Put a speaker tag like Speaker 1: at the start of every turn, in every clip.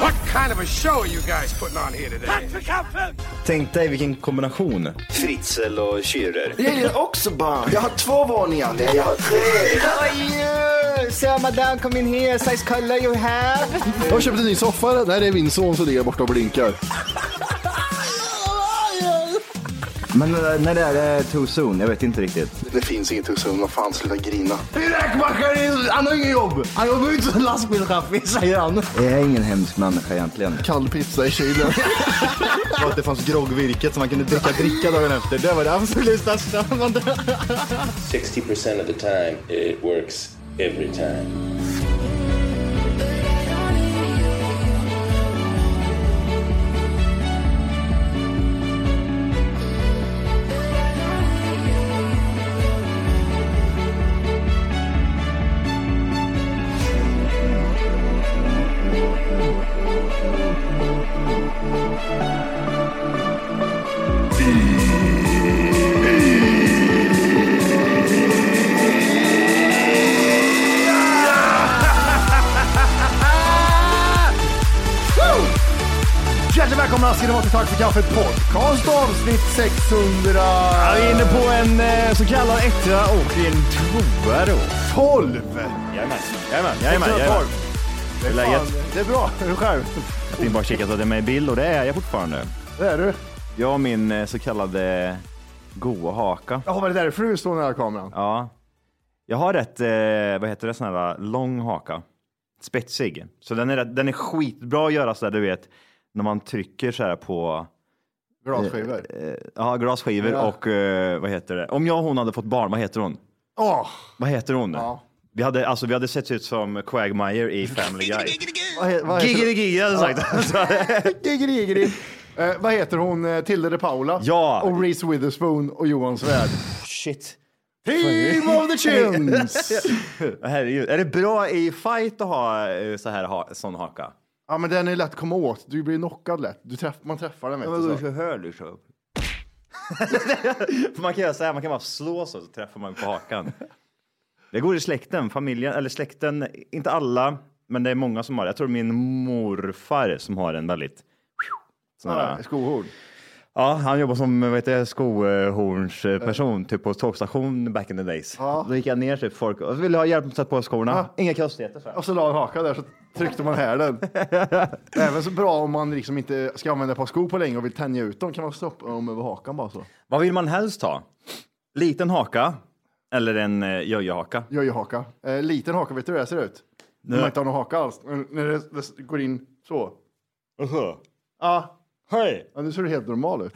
Speaker 1: What kind of a show are you guys putting on here today?
Speaker 2: Tänk dig vilken kombination.
Speaker 3: Fritzl och Schürrer.
Speaker 4: Jag gillar också barn. Jag har två våningar. Nej, jag har tre.
Speaker 2: Sir, madame, come in here, size color you have.
Speaker 5: Jag har köpt en ny soffa. Där är min son som ligger borta och blinkar.
Speaker 2: Men eh, när det är det too soon? Jag vet inte riktigt.
Speaker 4: Det finns inget hus vad fan, sluta grina.
Speaker 5: Min räkmackare, han har inget jobb. Han jobbar ju inte som lastbilschaffis, säger han.
Speaker 2: Jag är ingen hemsk människa egentligen.
Speaker 5: Kall pizza i kylen.
Speaker 2: Och att det fanns groggvirket som man kunde dricka dricka dagen efter. Det var det absolut största.
Speaker 3: 60% of the time, it works every time.
Speaker 5: Hjärtligt välkomna ska ni vara till Tack för kaffet podcast avsnitt 600.
Speaker 2: Vi är inne på en eh, så kallad etta och en tvåa då.
Speaker 5: 12!
Speaker 2: Jajamän, jajamän, jajamän. jajamän.
Speaker 5: Det är,
Speaker 2: läget?
Speaker 5: fan- det är bra. Hur är det själv?
Speaker 2: Jag vill bara kika så att jag är med i bild och det är jag fortfarande.
Speaker 5: Det är du.
Speaker 2: Jag och min eh, så kallade goa haka.
Speaker 5: Jaha, var det därför du står nära kameran?
Speaker 2: Ja. Jag har rätt, eh, vad heter det, sån här lång haka. Spetsig. Så den är, rätt, den är skitbra att göra så där, du vet, när man trycker så här på eh,
Speaker 5: Glasskivor.
Speaker 2: ja, glasskivor
Speaker 5: Ja.
Speaker 2: och eh, vad heter det? Om jag och hon hade fått barn, vad heter hon?
Speaker 5: Åh,
Speaker 2: Vad heter hon?
Speaker 5: Ja.
Speaker 2: Vi, hade, alltså, vi hade sett ut som Quagmire i Family Guy.
Speaker 5: vad, he- vad heter
Speaker 2: Giggity giggity hade jag sagt. Så hade-
Speaker 5: Giggeri, giggeri. Eh, vad heter hon? Eh, Tilde de Paula?
Speaker 2: Ja.
Speaker 5: Och Reese Witherspoon och Johan Svärd.
Speaker 2: Shit.
Speaker 5: Team of the Chins!
Speaker 2: Herregud. Är det bra i fight att ha eh, så här ha, sån haka?
Speaker 5: ja, men den är lätt att komma åt. Du blir knockad lätt. Du träff, man träffar den, vet du. Så.
Speaker 2: hör liksom. man kan göra så här, man kan bara slå så, så träffar man på hakan. Det går i släkten, familjen, eller släkten, inte alla, men det är många som har det. Jag tror min morfar som har en väldigt... Sån här,
Speaker 5: Ja, Skohorn.
Speaker 2: Ja, han jobbar som vad heter det, skohornsperson typ på tågstation back in the days. Då gick jag ner typ folk och ville ha hjälp med att sätta på skorna. Inga konstigheter. så här.
Speaker 5: Och så la en haka där så tryckte man här den. Även så bra om man liksom inte ska använda ett par skor på länge och vill tänja ut dem kan man stoppa dem över hakan bara så.
Speaker 2: Vad vill man helst ha? Liten haka eller en eh, jojo-haka?
Speaker 5: Jojo-haka. Eh, liten haka, vet du hur det ser ut? När man inte har någon haka alls. Men När det, det går in så. Ja.
Speaker 2: Hej!
Speaker 5: ja, nu ser du helt normal ut.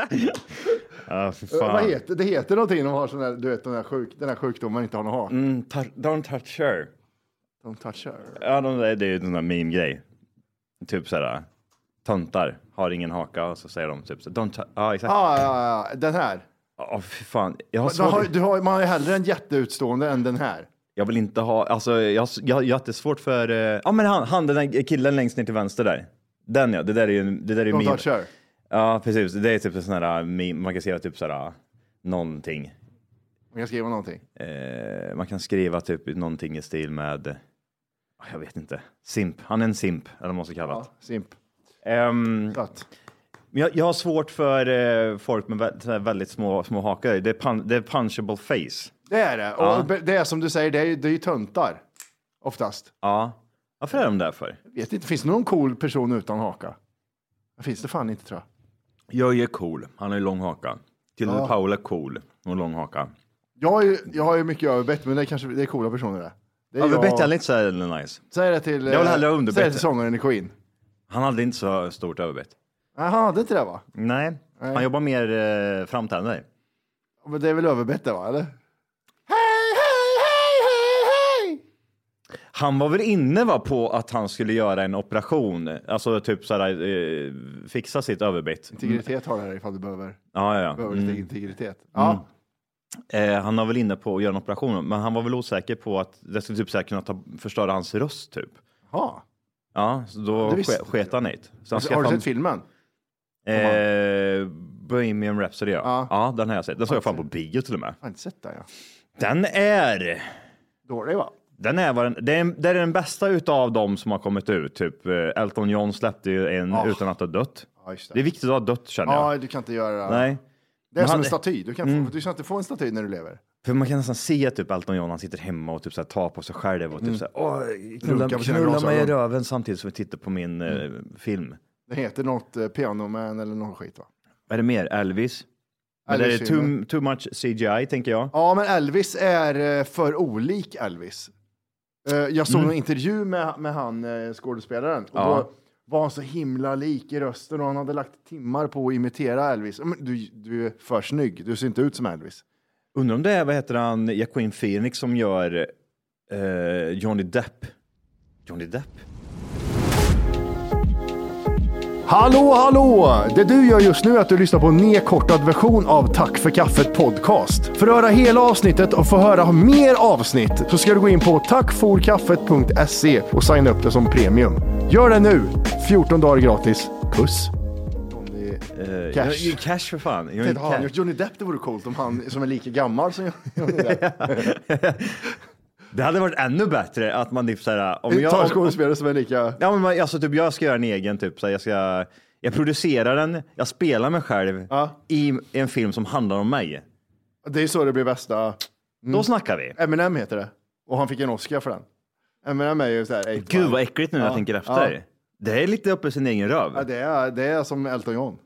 Speaker 2: Ja, fy
Speaker 5: Eh, Vad
Speaker 2: fan.
Speaker 5: heter, det heter någonting när man har sån där, du vet, den, där sjuk, den där sjukdomen inte har någon haka.
Speaker 2: Mm, tou- Don't touch her.
Speaker 5: De touchar.
Speaker 2: Ja, de där, det är ju en sån där meme-grej. Typ såhär, töntar har ingen haka och så säger de typ så don't touch. Ja, exakt.
Speaker 5: Ja, ja, ja, den här.
Speaker 2: Ja, fy fan. Jag har
Speaker 5: Du har,
Speaker 2: svårt.
Speaker 5: du har, man har ju hellre en jätteutstående än den här.
Speaker 2: Jag vill inte ha, alltså jag, jag har jättesvårt för, eh, ja men han, han den där killen längst ner till vänster där. Den ja, det där är ju, det där är ju
Speaker 5: De
Speaker 2: meme.
Speaker 5: touchar.
Speaker 2: Ja precis, det är typ en sån här meme, man kan skriva typ så här någonting.
Speaker 5: Man kan skriva någonting.
Speaker 2: Eh, man kan skriva typ någonting i stil med, ah, jag vet inte, simp. Han är en simp, eller vad man ska kalla det.
Speaker 5: Ja, simp.
Speaker 2: Ehm,
Speaker 5: Platt.
Speaker 2: men jag, jag har svårt för eh, folk med vä- så här väldigt små, små hakar. Det är, pun, det är punchable face.
Speaker 5: Det är det. Och be- det är som du säger, det är, ju- det är ju töntar. Oftast.
Speaker 2: Ja. Varför är de där för?
Speaker 5: Jag vet inte, finns det någon cool person utan haka? Det finns det fan inte tror jag.
Speaker 2: Jag är cool. Han har ju lång haka. Till ja. Paula cool och lång haka.
Speaker 5: Jag har ju, jag har ju mycket överbett, men det är kanske det är coola personer det. det är
Speaker 2: Överbett är lite så här nice.
Speaker 5: Säg det till,
Speaker 2: Jag vill hellre
Speaker 5: eh,
Speaker 2: underbett.
Speaker 5: säg det till sångaren i Queen.
Speaker 2: Han hade inte så stort överbett.
Speaker 5: Jaha, det är inte det va?
Speaker 2: Nej, han jobbar mer eh, framtänder.
Speaker 5: Men det är väl överbett det va, eller? Hej, hej, hej, hej, hej!
Speaker 2: Han var väl inne va, på att han skulle göra en operation, alltså typ så här, eh, fixa sitt överbett.
Speaker 5: Integritet har det här ifall du behöver,
Speaker 2: Ja, ja. ja.
Speaker 5: behöver lite
Speaker 2: Mm.
Speaker 5: integritet. Ja,
Speaker 2: Eh, han var väl inne på att göra en operation, men han var väl osäker på att det skulle typ så här kunna ta, förstöra hans röst typ.
Speaker 5: jaha.
Speaker 2: Ja, så då
Speaker 5: Det visste
Speaker 2: ske- sket han i det. Så han
Speaker 5: Har du
Speaker 2: skaffade-
Speaker 5: sett filmen?
Speaker 2: Eh, Bohemian Rhapsody ja.
Speaker 5: Ja.
Speaker 2: ja. den har jag sett. Den såg jag fan på bio till och med.
Speaker 5: Jag har inte sett den ja.
Speaker 2: Den är...
Speaker 5: Dålig va?
Speaker 2: Den är, vad den, det, är, det är den bästa utav dem som har kommit ut. Typ eh, Elton John släppte ju en
Speaker 5: Ah.
Speaker 2: utan att ha dött.
Speaker 5: Ja, just det.
Speaker 2: Det är viktigt att ha dött känner jag.
Speaker 5: Ja, du kan inte göra
Speaker 2: Nej.
Speaker 5: Det är
Speaker 2: Men han-
Speaker 5: som
Speaker 2: Mm.
Speaker 5: en staty. Du kan, få, du kan inte få en staty när du lever.
Speaker 2: För man kan nästan se typ Elton John, han sitter hemma och typ så här, tar på sig själv och typ så här, åh, knulla,
Speaker 5: Mm. Runkar på sina
Speaker 2: knulla mig i
Speaker 5: glasögon." Mm.
Speaker 2: röven samtidigt som vi tittar på min eh, film.
Speaker 5: Det heter något eh, Pianoman eller någon skit va?
Speaker 2: Vad är det mer? Elvis? Men det är
Speaker 5: Elvis
Speaker 2: too, too much CGI tänker jag.
Speaker 5: Ja, men Elvis är eh, för olik Elvis. Eh, Jag såg en intervju med, med han eh, skådespelaren och
Speaker 2: Ja.
Speaker 5: då var han så himla lik i rösten och han hade lagt timmar på att imitera Elvis. Men du, du är för snygg, du ser inte ut som Elvis.
Speaker 2: Undrar om det är, vad heter han, Jacqueline Phoenix som gör eh, Johnny Depp? Johnny Depp?
Speaker 5: Hallå, hallå! Det du gör just nu är att du lyssnar på en nedkortad version av Tack för kaffet podcast. För att höra hela avsnittet och få höra mer avsnitt så ska du gå in på tackforkaffet.se och signa upp det som premium. Gör det nu! 14 dagar gratis. Puss!
Speaker 2: Eh,
Speaker 5: Cash.
Speaker 2: Johnny- cash för fan. Johnny
Speaker 5: Tänk, han
Speaker 2: Cash.
Speaker 5: gjort Johnny Depp, det vore coolt om han som är lika gammal som Johnny Depp.
Speaker 2: Det hade varit ännu bättre att man typ såhär, om
Speaker 5: Ta en
Speaker 2: jag... Om,
Speaker 5: skådespelare som är lika...
Speaker 2: ja, men man, alltså typ jag ska göra en egen typ, såhär, jag ska... Jag producerar den, jag spelar mig själv
Speaker 5: Ja.
Speaker 2: i en film som handlar om mig.
Speaker 5: Det är så det blir bästa.
Speaker 2: Då
Speaker 5: Mm.
Speaker 2: snackar vi.
Speaker 5: Eminem heter det. Och han fick en Oscar för den. Eminem är ju såhär...
Speaker 2: Gud vad äckligt nu när jag
Speaker 5: Ja.
Speaker 2: tänker efter.
Speaker 5: Ja.
Speaker 2: Det är lite uppe i sin egen röv.
Speaker 5: Ja, det, är, det är som Elton John.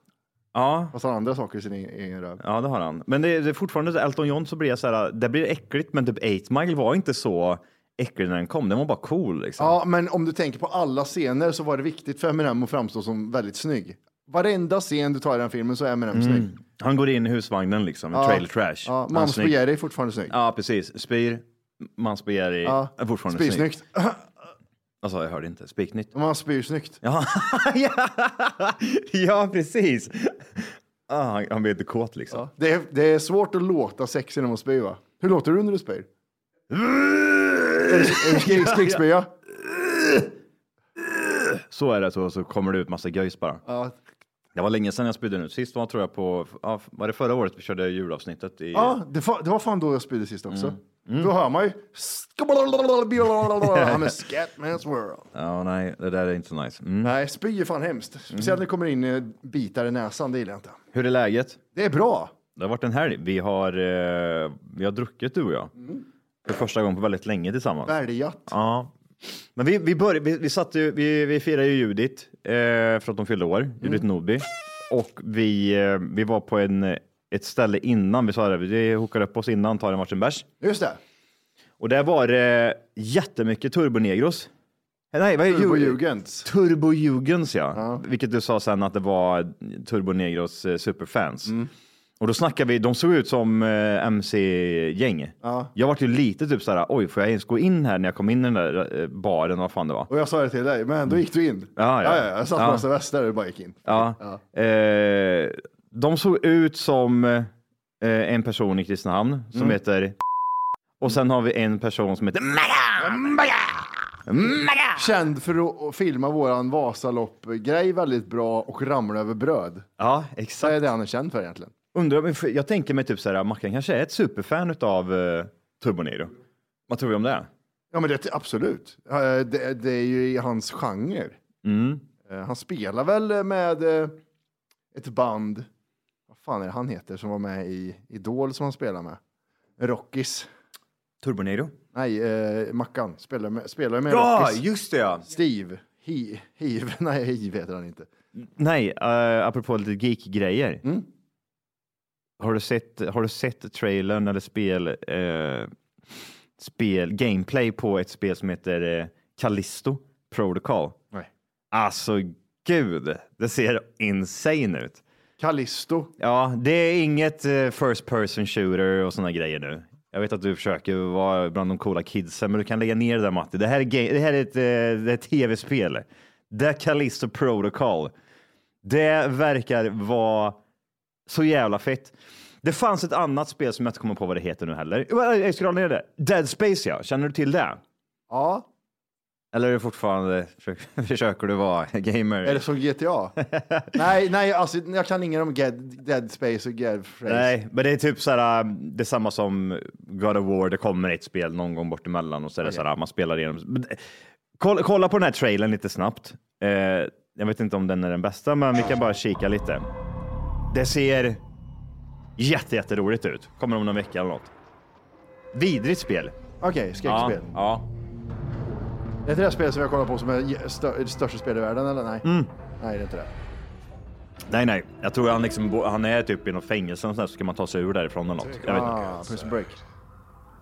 Speaker 2: ja.
Speaker 5: Fast han har andra saker i sin egen- egen röv.
Speaker 2: Ja, det har han. Men det, det är fortfarande så- Elton John så blir jag så här, det blir äckligt, men typ 8 Mile var inte så äcklig när den kom. Den var bara cool liksom.
Speaker 5: Ja, men om du tänker på alla scener så var det viktigt för Eminem att framstå som väldigt snygg. Varenda scen du tar i den filmen så är Eminem snygg.
Speaker 2: Han går in i husvagnen liksom, ja. trailer trash.
Speaker 5: Ja,
Speaker 2: Han är
Speaker 5: Mams
Speaker 2: snygg.
Speaker 5: Spaghetti är fortfarande snygg.
Speaker 2: Ja, precis. Spyr, man spyr i,
Speaker 5: Ja.
Speaker 2: är fortfarande
Speaker 5: Spyr
Speaker 2: snygg.
Speaker 5: snyggt.
Speaker 2: Alltså, jag hörde inte. Spiknytt.
Speaker 5: Man spyr snyggt.
Speaker 2: Ja, ja. ja precis. Ah, han, han blir lite kåt liksom.
Speaker 5: Det, är, det är svårt att låta sexig när man spyr va? Hur låter du när du spyr? Är det skrik- Skrikspya?
Speaker 2: Så är det, så, så kommer det ut massa göjs bara.
Speaker 5: Ja.
Speaker 2: Det var länge sedan jag spydde nu. Sist var tror jag på, ja, var det förra året vi körde julavsnittet? I,
Speaker 5: Ja, det, fa- det var fan då jag spydde sist också. Då hör man ju... Han är Scatman's world.
Speaker 2: Ja, nej, det där är inte så nice. Mm.
Speaker 5: Nej, spy är fan hemskt.
Speaker 2: Mhm.
Speaker 5: Speciellt när det kommer in eh, bitar i näsan, det gillar jag inte.
Speaker 2: Hur är läget?
Speaker 5: Det är bra.
Speaker 2: Det har varit en helg. Vi har, eh, vi har druckit du och jag. För första gången på väldigt länge tillsammans.
Speaker 5: Bälgat.
Speaker 2: Ja. Men vi, vi, började, vi, vi, satt ju, vi, vi firade ju Judith eh, för att hon fyllde år, Judith Nordby. Och vi, eh, vi var på en, eh, ett ställe innan, vi sa det, vi hookade upp oss innan, tar en varsin bärs.
Speaker 5: Just det.
Speaker 2: Och där var det jättemycket turbonegros. Nej, vad är det?
Speaker 5: Turbojugends.
Speaker 2: Turbojugens ja. Vilket du sa sen att det var Turbonegros eh, superfans. Och då snackade vi, de såg ut som eh, MC-gäng. Jag var ju lite typ såhär, oj får jag ens gå in här när jag kom in i den där eh, baren, vad fan det var.
Speaker 5: Och jag sa det till dig, men då gick du in.
Speaker 2: Ja, ja.
Speaker 5: jag satt på
Speaker 2: Ja.
Speaker 5: en semester och bara gick in.
Speaker 2: Ja. Eh, de såg ut som eh, en person i Kristinehamn som heter och sen har vi en person som heter Maga! Maga! Maga!
Speaker 5: Känd för att- att filma våran Vasalopp-grej väldigt bra och ramla över bröd.
Speaker 2: Ja,
Speaker 5: Det
Speaker 2: exakt.
Speaker 5: är det han är känd för egentligen.
Speaker 2: Undrar, om- för jag tänker mig typ så här, Mackan kanske är ett superfan av uh, Turbonegro. Vad tror vi om det?
Speaker 5: Ja, men det absolut. Eh, Det, det är ju i hans genre.
Speaker 2: Mm.
Speaker 5: Eh, Han spelar väl med eh, ett band. Vad fan är det han heter som var med i Idol som han spelar med? Rockis.
Speaker 2: Turbonegro?
Speaker 5: Nej, eh, Mackan spelar med, spelar med
Speaker 2: Ja,
Speaker 5: Rockis.
Speaker 2: just det ja!
Speaker 5: Steve. Hi, hiv. Nej, Hiv heter han inte.
Speaker 2: Nej, uh, apropå lite geek-grejer. Har, du sett, har du sett trailern eller spel, eh, spel, gameplay på ett spel som heter uh, Callisto Protocol?
Speaker 5: Nej.
Speaker 2: Alltså gud, det ser insane ut.
Speaker 5: Callisto.
Speaker 2: Ja, det är inget eh, first person shooter och sådana grejer nu. Jag vet att du försöker vara bland de coola kidsen, men du kan lägga ner det där Matti. Det här är, ga- det här är ett, eh, det är ett tv-spel. The Callisto Protocol. Det verkar vara så jävla fett. Det fanns ett annat spel som jag inte kommer på vad det heter nu heller. Jag- Jag scrollar ner det. Dead Space ja, känner du till det?
Speaker 5: Ja,
Speaker 2: Eller är det fortfarande, försöker du vara gamer?
Speaker 5: är det som GTA? nej, nej, alltså, jag kan ingen om Ged- Dead Space och Ged Phrase.
Speaker 2: Nej, men det är typ såhär, det är samma som God of War, det kommer ett spel någon gång bortemellan och så är det såhär, man spelar igenom. Men det- Kolla, kolla på den här trailern lite snabbt. Eh, jag vet inte om den är den bästa, men vi kan bara kika lite. Det ser jätte, jätteroligt ut. Kommer om någon vecka eller något. Vidrigt spel.
Speaker 5: Okej, skräckspel.
Speaker 2: ja.
Speaker 5: Det är inte det spel som jag kollar på som är j- stö- det största spel i världen, eller? Nej,
Speaker 2: Mm.
Speaker 5: nej det är inte det.
Speaker 2: Nej, nej. Jag tror han, liksom, bo- han är typ i något fängelse och sådär, så ska man ta sig ur därifrån eller något. Jag vet inte.
Speaker 5: Ah, Prison Break.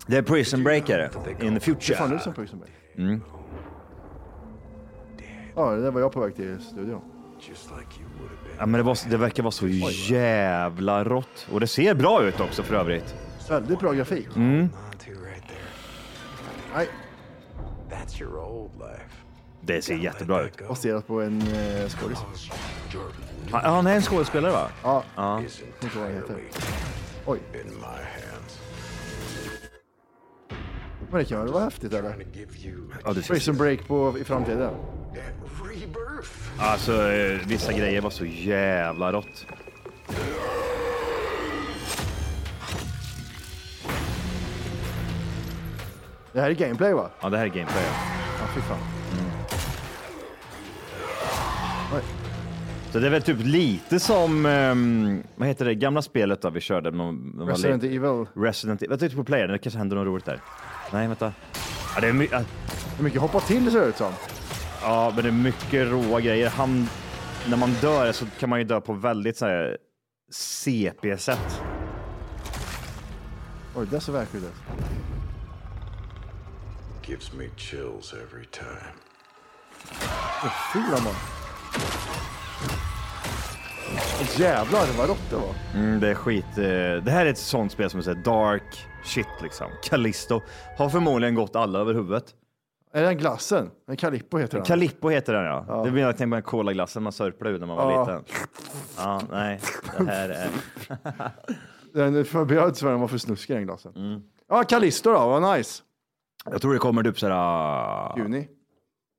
Speaker 2: Det är Prison Breaker in the future.
Speaker 5: Fan, du som Prison Break.
Speaker 2: Mm.
Speaker 5: Ja, det där var jag på väg till studion.
Speaker 2: Ja, men det, var, det verkar vara så jävla rått. Och det ser bra ut också för övrigt.
Speaker 5: Väldigt bra grafik.
Speaker 2: Mm.
Speaker 5: Nej,
Speaker 2: Det ser jättebra ut.
Speaker 5: baserat på en eh, skådis.
Speaker 2: Ja, Han är en skådespelare va?
Speaker 5: Ja, jag kommer inte ihåg vad han heter. Oj. Men det kan väl vara häftigt, eller?
Speaker 2: Ja, det ser...
Speaker 5: Prison Break på, i framtiden.
Speaker 2: Alltså, eh, vissa grejer var så jävla rått.
Speaker 5: Det här är gameplay, va?
Speaker 2: Ja, det här är gameplay.
Speaker 5: Ja, fy fan.
Speaker 2: Så det är väl typ lite som, ehm, vad heter det gamla spelet då vi körde? när man- när man var
Speaker 5: Resident
Speaker 2: liten?
Speaker 5: Evil.
Speaker 2: Resident Evil. Jag tänkte på playern, det kanske händer något roligt där. Nej, vänta. Ja, det är my- ja,
Speaker 5: Hur mycket hoppa till ser det ut som.
Speaker 2: ja, men det är mycket råa grejer. Han, när man dör så kan man ju dö på väldigt så här CP-sätt.
Speaker 5: Oj, det där ser verkligt ut.
Speaker 1: Gives me chills every time.
Speaker 5: Fyra man. Åh, Jävlar vad rått det var.
Speaker 2: Mm, det är skit. eh, Det här är ett sånt spel som är så här dark shit liksom. Callisto har förmodligen gått alla över huvudet.
Speaker 5: Är det den glassen? En Calippo heter den.
Speaker 2: Calippo heter den ja. Det blir jag tänkte på den kolaglassen man sörplade ut när man var
Speaker 5: Ja.
Speaker 2: liten. Ja, nej, det här är...
Speaker 5: den förbjöds för den var för snuskig den glassen.
Speaker 2: Mm.
Speaker 5: Ja, Callisto då, vad nice.
Speaker 2: Jag tror det kommer typ sådär...
Speaker 5: Juni.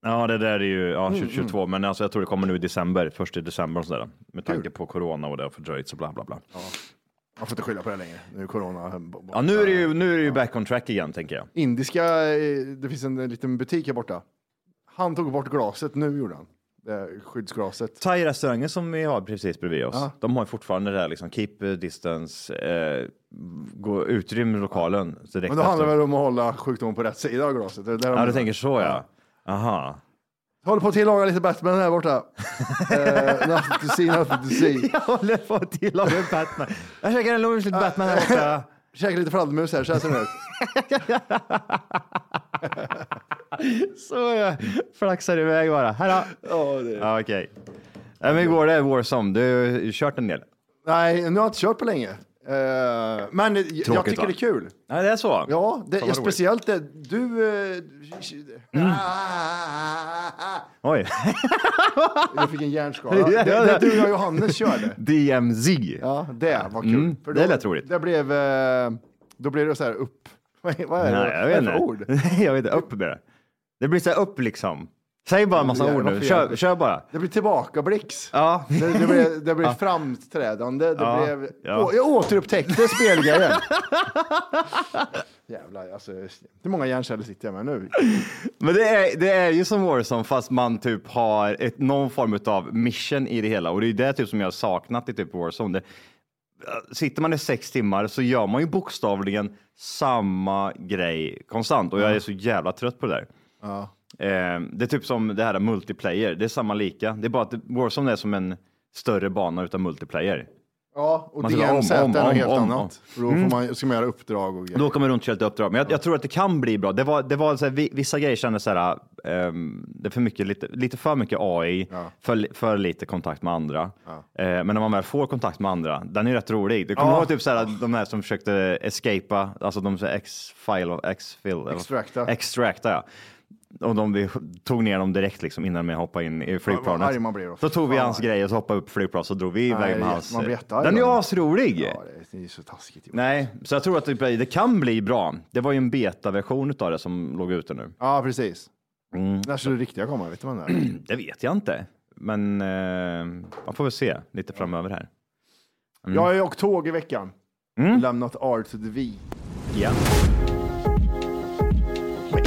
Speaker 2: Ja, det där är ju ja, 2022, men alltså, jag tror det kommer nu i december, första december och sådär. Med tanke på corona och det har fördröjts och bla bla bla. Ja,
Speaker 5: Man får inte skylla på det längre. Nu är corona.
Speaker 2: nu är det ju, nu är det ju back on track igen, tänker jag.
Speaker 5: Indiska, eh, det finns en liten butik här borta. Han tog bort glaset, nu gjorde han. Det här skyddsglaset.
Speaker 2: Thai-restaurangen som vi har precis bredvid oss, de har ju fortfarande det här liksom keep distance, eh, gå utrymme i lokalen. Så direkt
Speaker 5: Men då handlar det
Speaker 2: efter.
Speaker 5: väl om att hålla sjukdomen på rätt sida av glaset? Det är där de-
Speaker 2: Ja, du tänker så ja. Aha.
Speaker 5: Håller på att tillaga lite Batman här borta. Eh, nothing to see, nothing to see.
Speaker 2: Jag håller på att tillaga Batman. Jag käkar en lunch lite Batman här borta.
Speaker 5: Käkar lite fladdermus här, så här ser det ut.
Speaker 2: Så jag flaxar iväg bara. Här då.
Speaker 5: Ja, det-
Speaker 2: Ja, Okej. Nej, men går det är Warzone? Du har ju kört en del.
Speaker 5: Nej, nu har jag inte kört på länge. Eh, men jag- jag tycker
Speaker 2: va?
Speaker 5: det är kul.
Speaker 2: Nej, det är så?
Speaker 5: Ja, det,
Speaker 2: Fan,
Speaker 5: ja
Speaker 2: vad roligt. Mm.
Speaker 5: speciellt det. Du... eh, Ah,
Speaker 2: Oj.
Speaker 5: jag fick en hjärnskada. Det, det du och Johannes körde.
Speaker 2: DMZ.
Speaker 5: Ja, det var kul.
Speaker 2: Mm,
Speaker 5: För
Speaker 2: det lät roligt.
Speaker 5: Det blev, eh, då blev det så här upp... Vad är vad är det,
Speaker 2: Nej, jag
Speaker 5: vad är
Speaker 2: vet inte.
Speaker 5: det för ord?
Speaker 2: jag vet inte. Upp med det. Det blir så här upp liksom. Säg bara en massa
Speaker 5: Jävla
Speaker 2: ord nu.
Speaker 5: fel.
Speaker 2: Kör, kör bara.
Speaker 5: Det blir tillbakablick.
Speaker 2: Ja.
Speaker 5: Det, det blev, det blev framträdande. Det
Speaker 2: Ja,
Speaker 5: blev,
Speaker 2: ja.
Speaker 5: Å, jag återupptäckte spelgrejen. Jävlar, alltså, hur många hjärnceller sitter jag med nu?
Speaker 2: Men det är, det är ju som Warzone fast man typ har ett, någon form av mission i det hela och det är ju det typ som jag har saknat i typ Warzone. Det, eh, sitter man i sex timmar så gör man ju bokstavligen samma grej konstant och jag är så jävla trött på det där. Eh, det är typ som det här multiplayer, det är samma lika. Det är bara att Warzone är som en större bana utan multiplayer.
Speaker 5: Ja, och
Speaker 2: Man
Speaker 5: DMZ
Speaker 2: ska om,
Speaker 5: är
Speaker 2: om,
Speaker 5: något
Speaker 2: om,
Speaker 5: helt
Speaker 2: om, Mm.
Speaker 5: annat. För då får man, ska man göra uppdrag och grejer.
Speaker 2: Då kommer man runt och kör lite uppdrag. Men jag, jag tror att det kan bli bra. Det var, det var så här, vi- vissa grejer kändes så här, ehm, det är för mycket, lite, lite för mycket AI, för, li- för lite kontakt med andra. Eh, men när man väl får kontakt med andra, den är ju rätt rolig. Du kommer ihåg typ så här, de här som försökte escapa, alltså de så här X-file och X-fill. eller-
Speaker 5: Extracta.
Speaker 2: Extracta, ja. Och de, vi tog ner dem direkt liksom innan de hoppade in i
Speaker 5: Vad- vad arg
Speaker 2: flygplanet.
Speaker 5: man blir då.
Speaker 2: så tog vi
Speaker 5: Fan,
Speaker 2: hans
Speaker 5: vad arg.
Speaker 2: grejer och så hoppade upp flygplan så drog vi
Speaker 5: Nej,
Speaker 2: iväg med hans.
Speaker 5: man blir jättearg
Speaker 2: Den är ju
Speaker 5: då.
Speaker 2: asrolig.
Speaker 5: Ja, det är- det är ju så taskigt. gjort.
Speaker 2: Nej, så jag tror att det, blir- det kan bli bra. Det var ju en betaversion av det som låg ute nu.
Speaker 5: Ja, precis. När skulle det riktiga komma? Vet man det?
Speaker 2: Det vet jag inte, men eh, man får väl se lite framöver här.
Speaker 5: Jag har åkt tåg i veckan. Lämnat R to the V.
Speaker 2: Ja.
Speaker 5: Men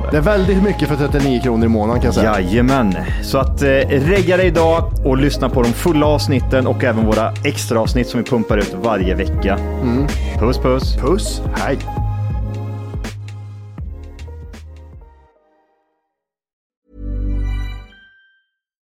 Speaker 5: Det
Speaker 2: det.
Speaker 5: är väldigt mycket för 39 kronor i månaden kan jag säga.
Speaker 2: Jajamän, så att eh, regga dig idag och lyssna på de fulla avsnitten och även våra extra avsnitt som vi pumpar ut varje vecka.
Speaker 5: Mm.
Speaker 2: Puss puss!
Speaker 5: Puss, hej.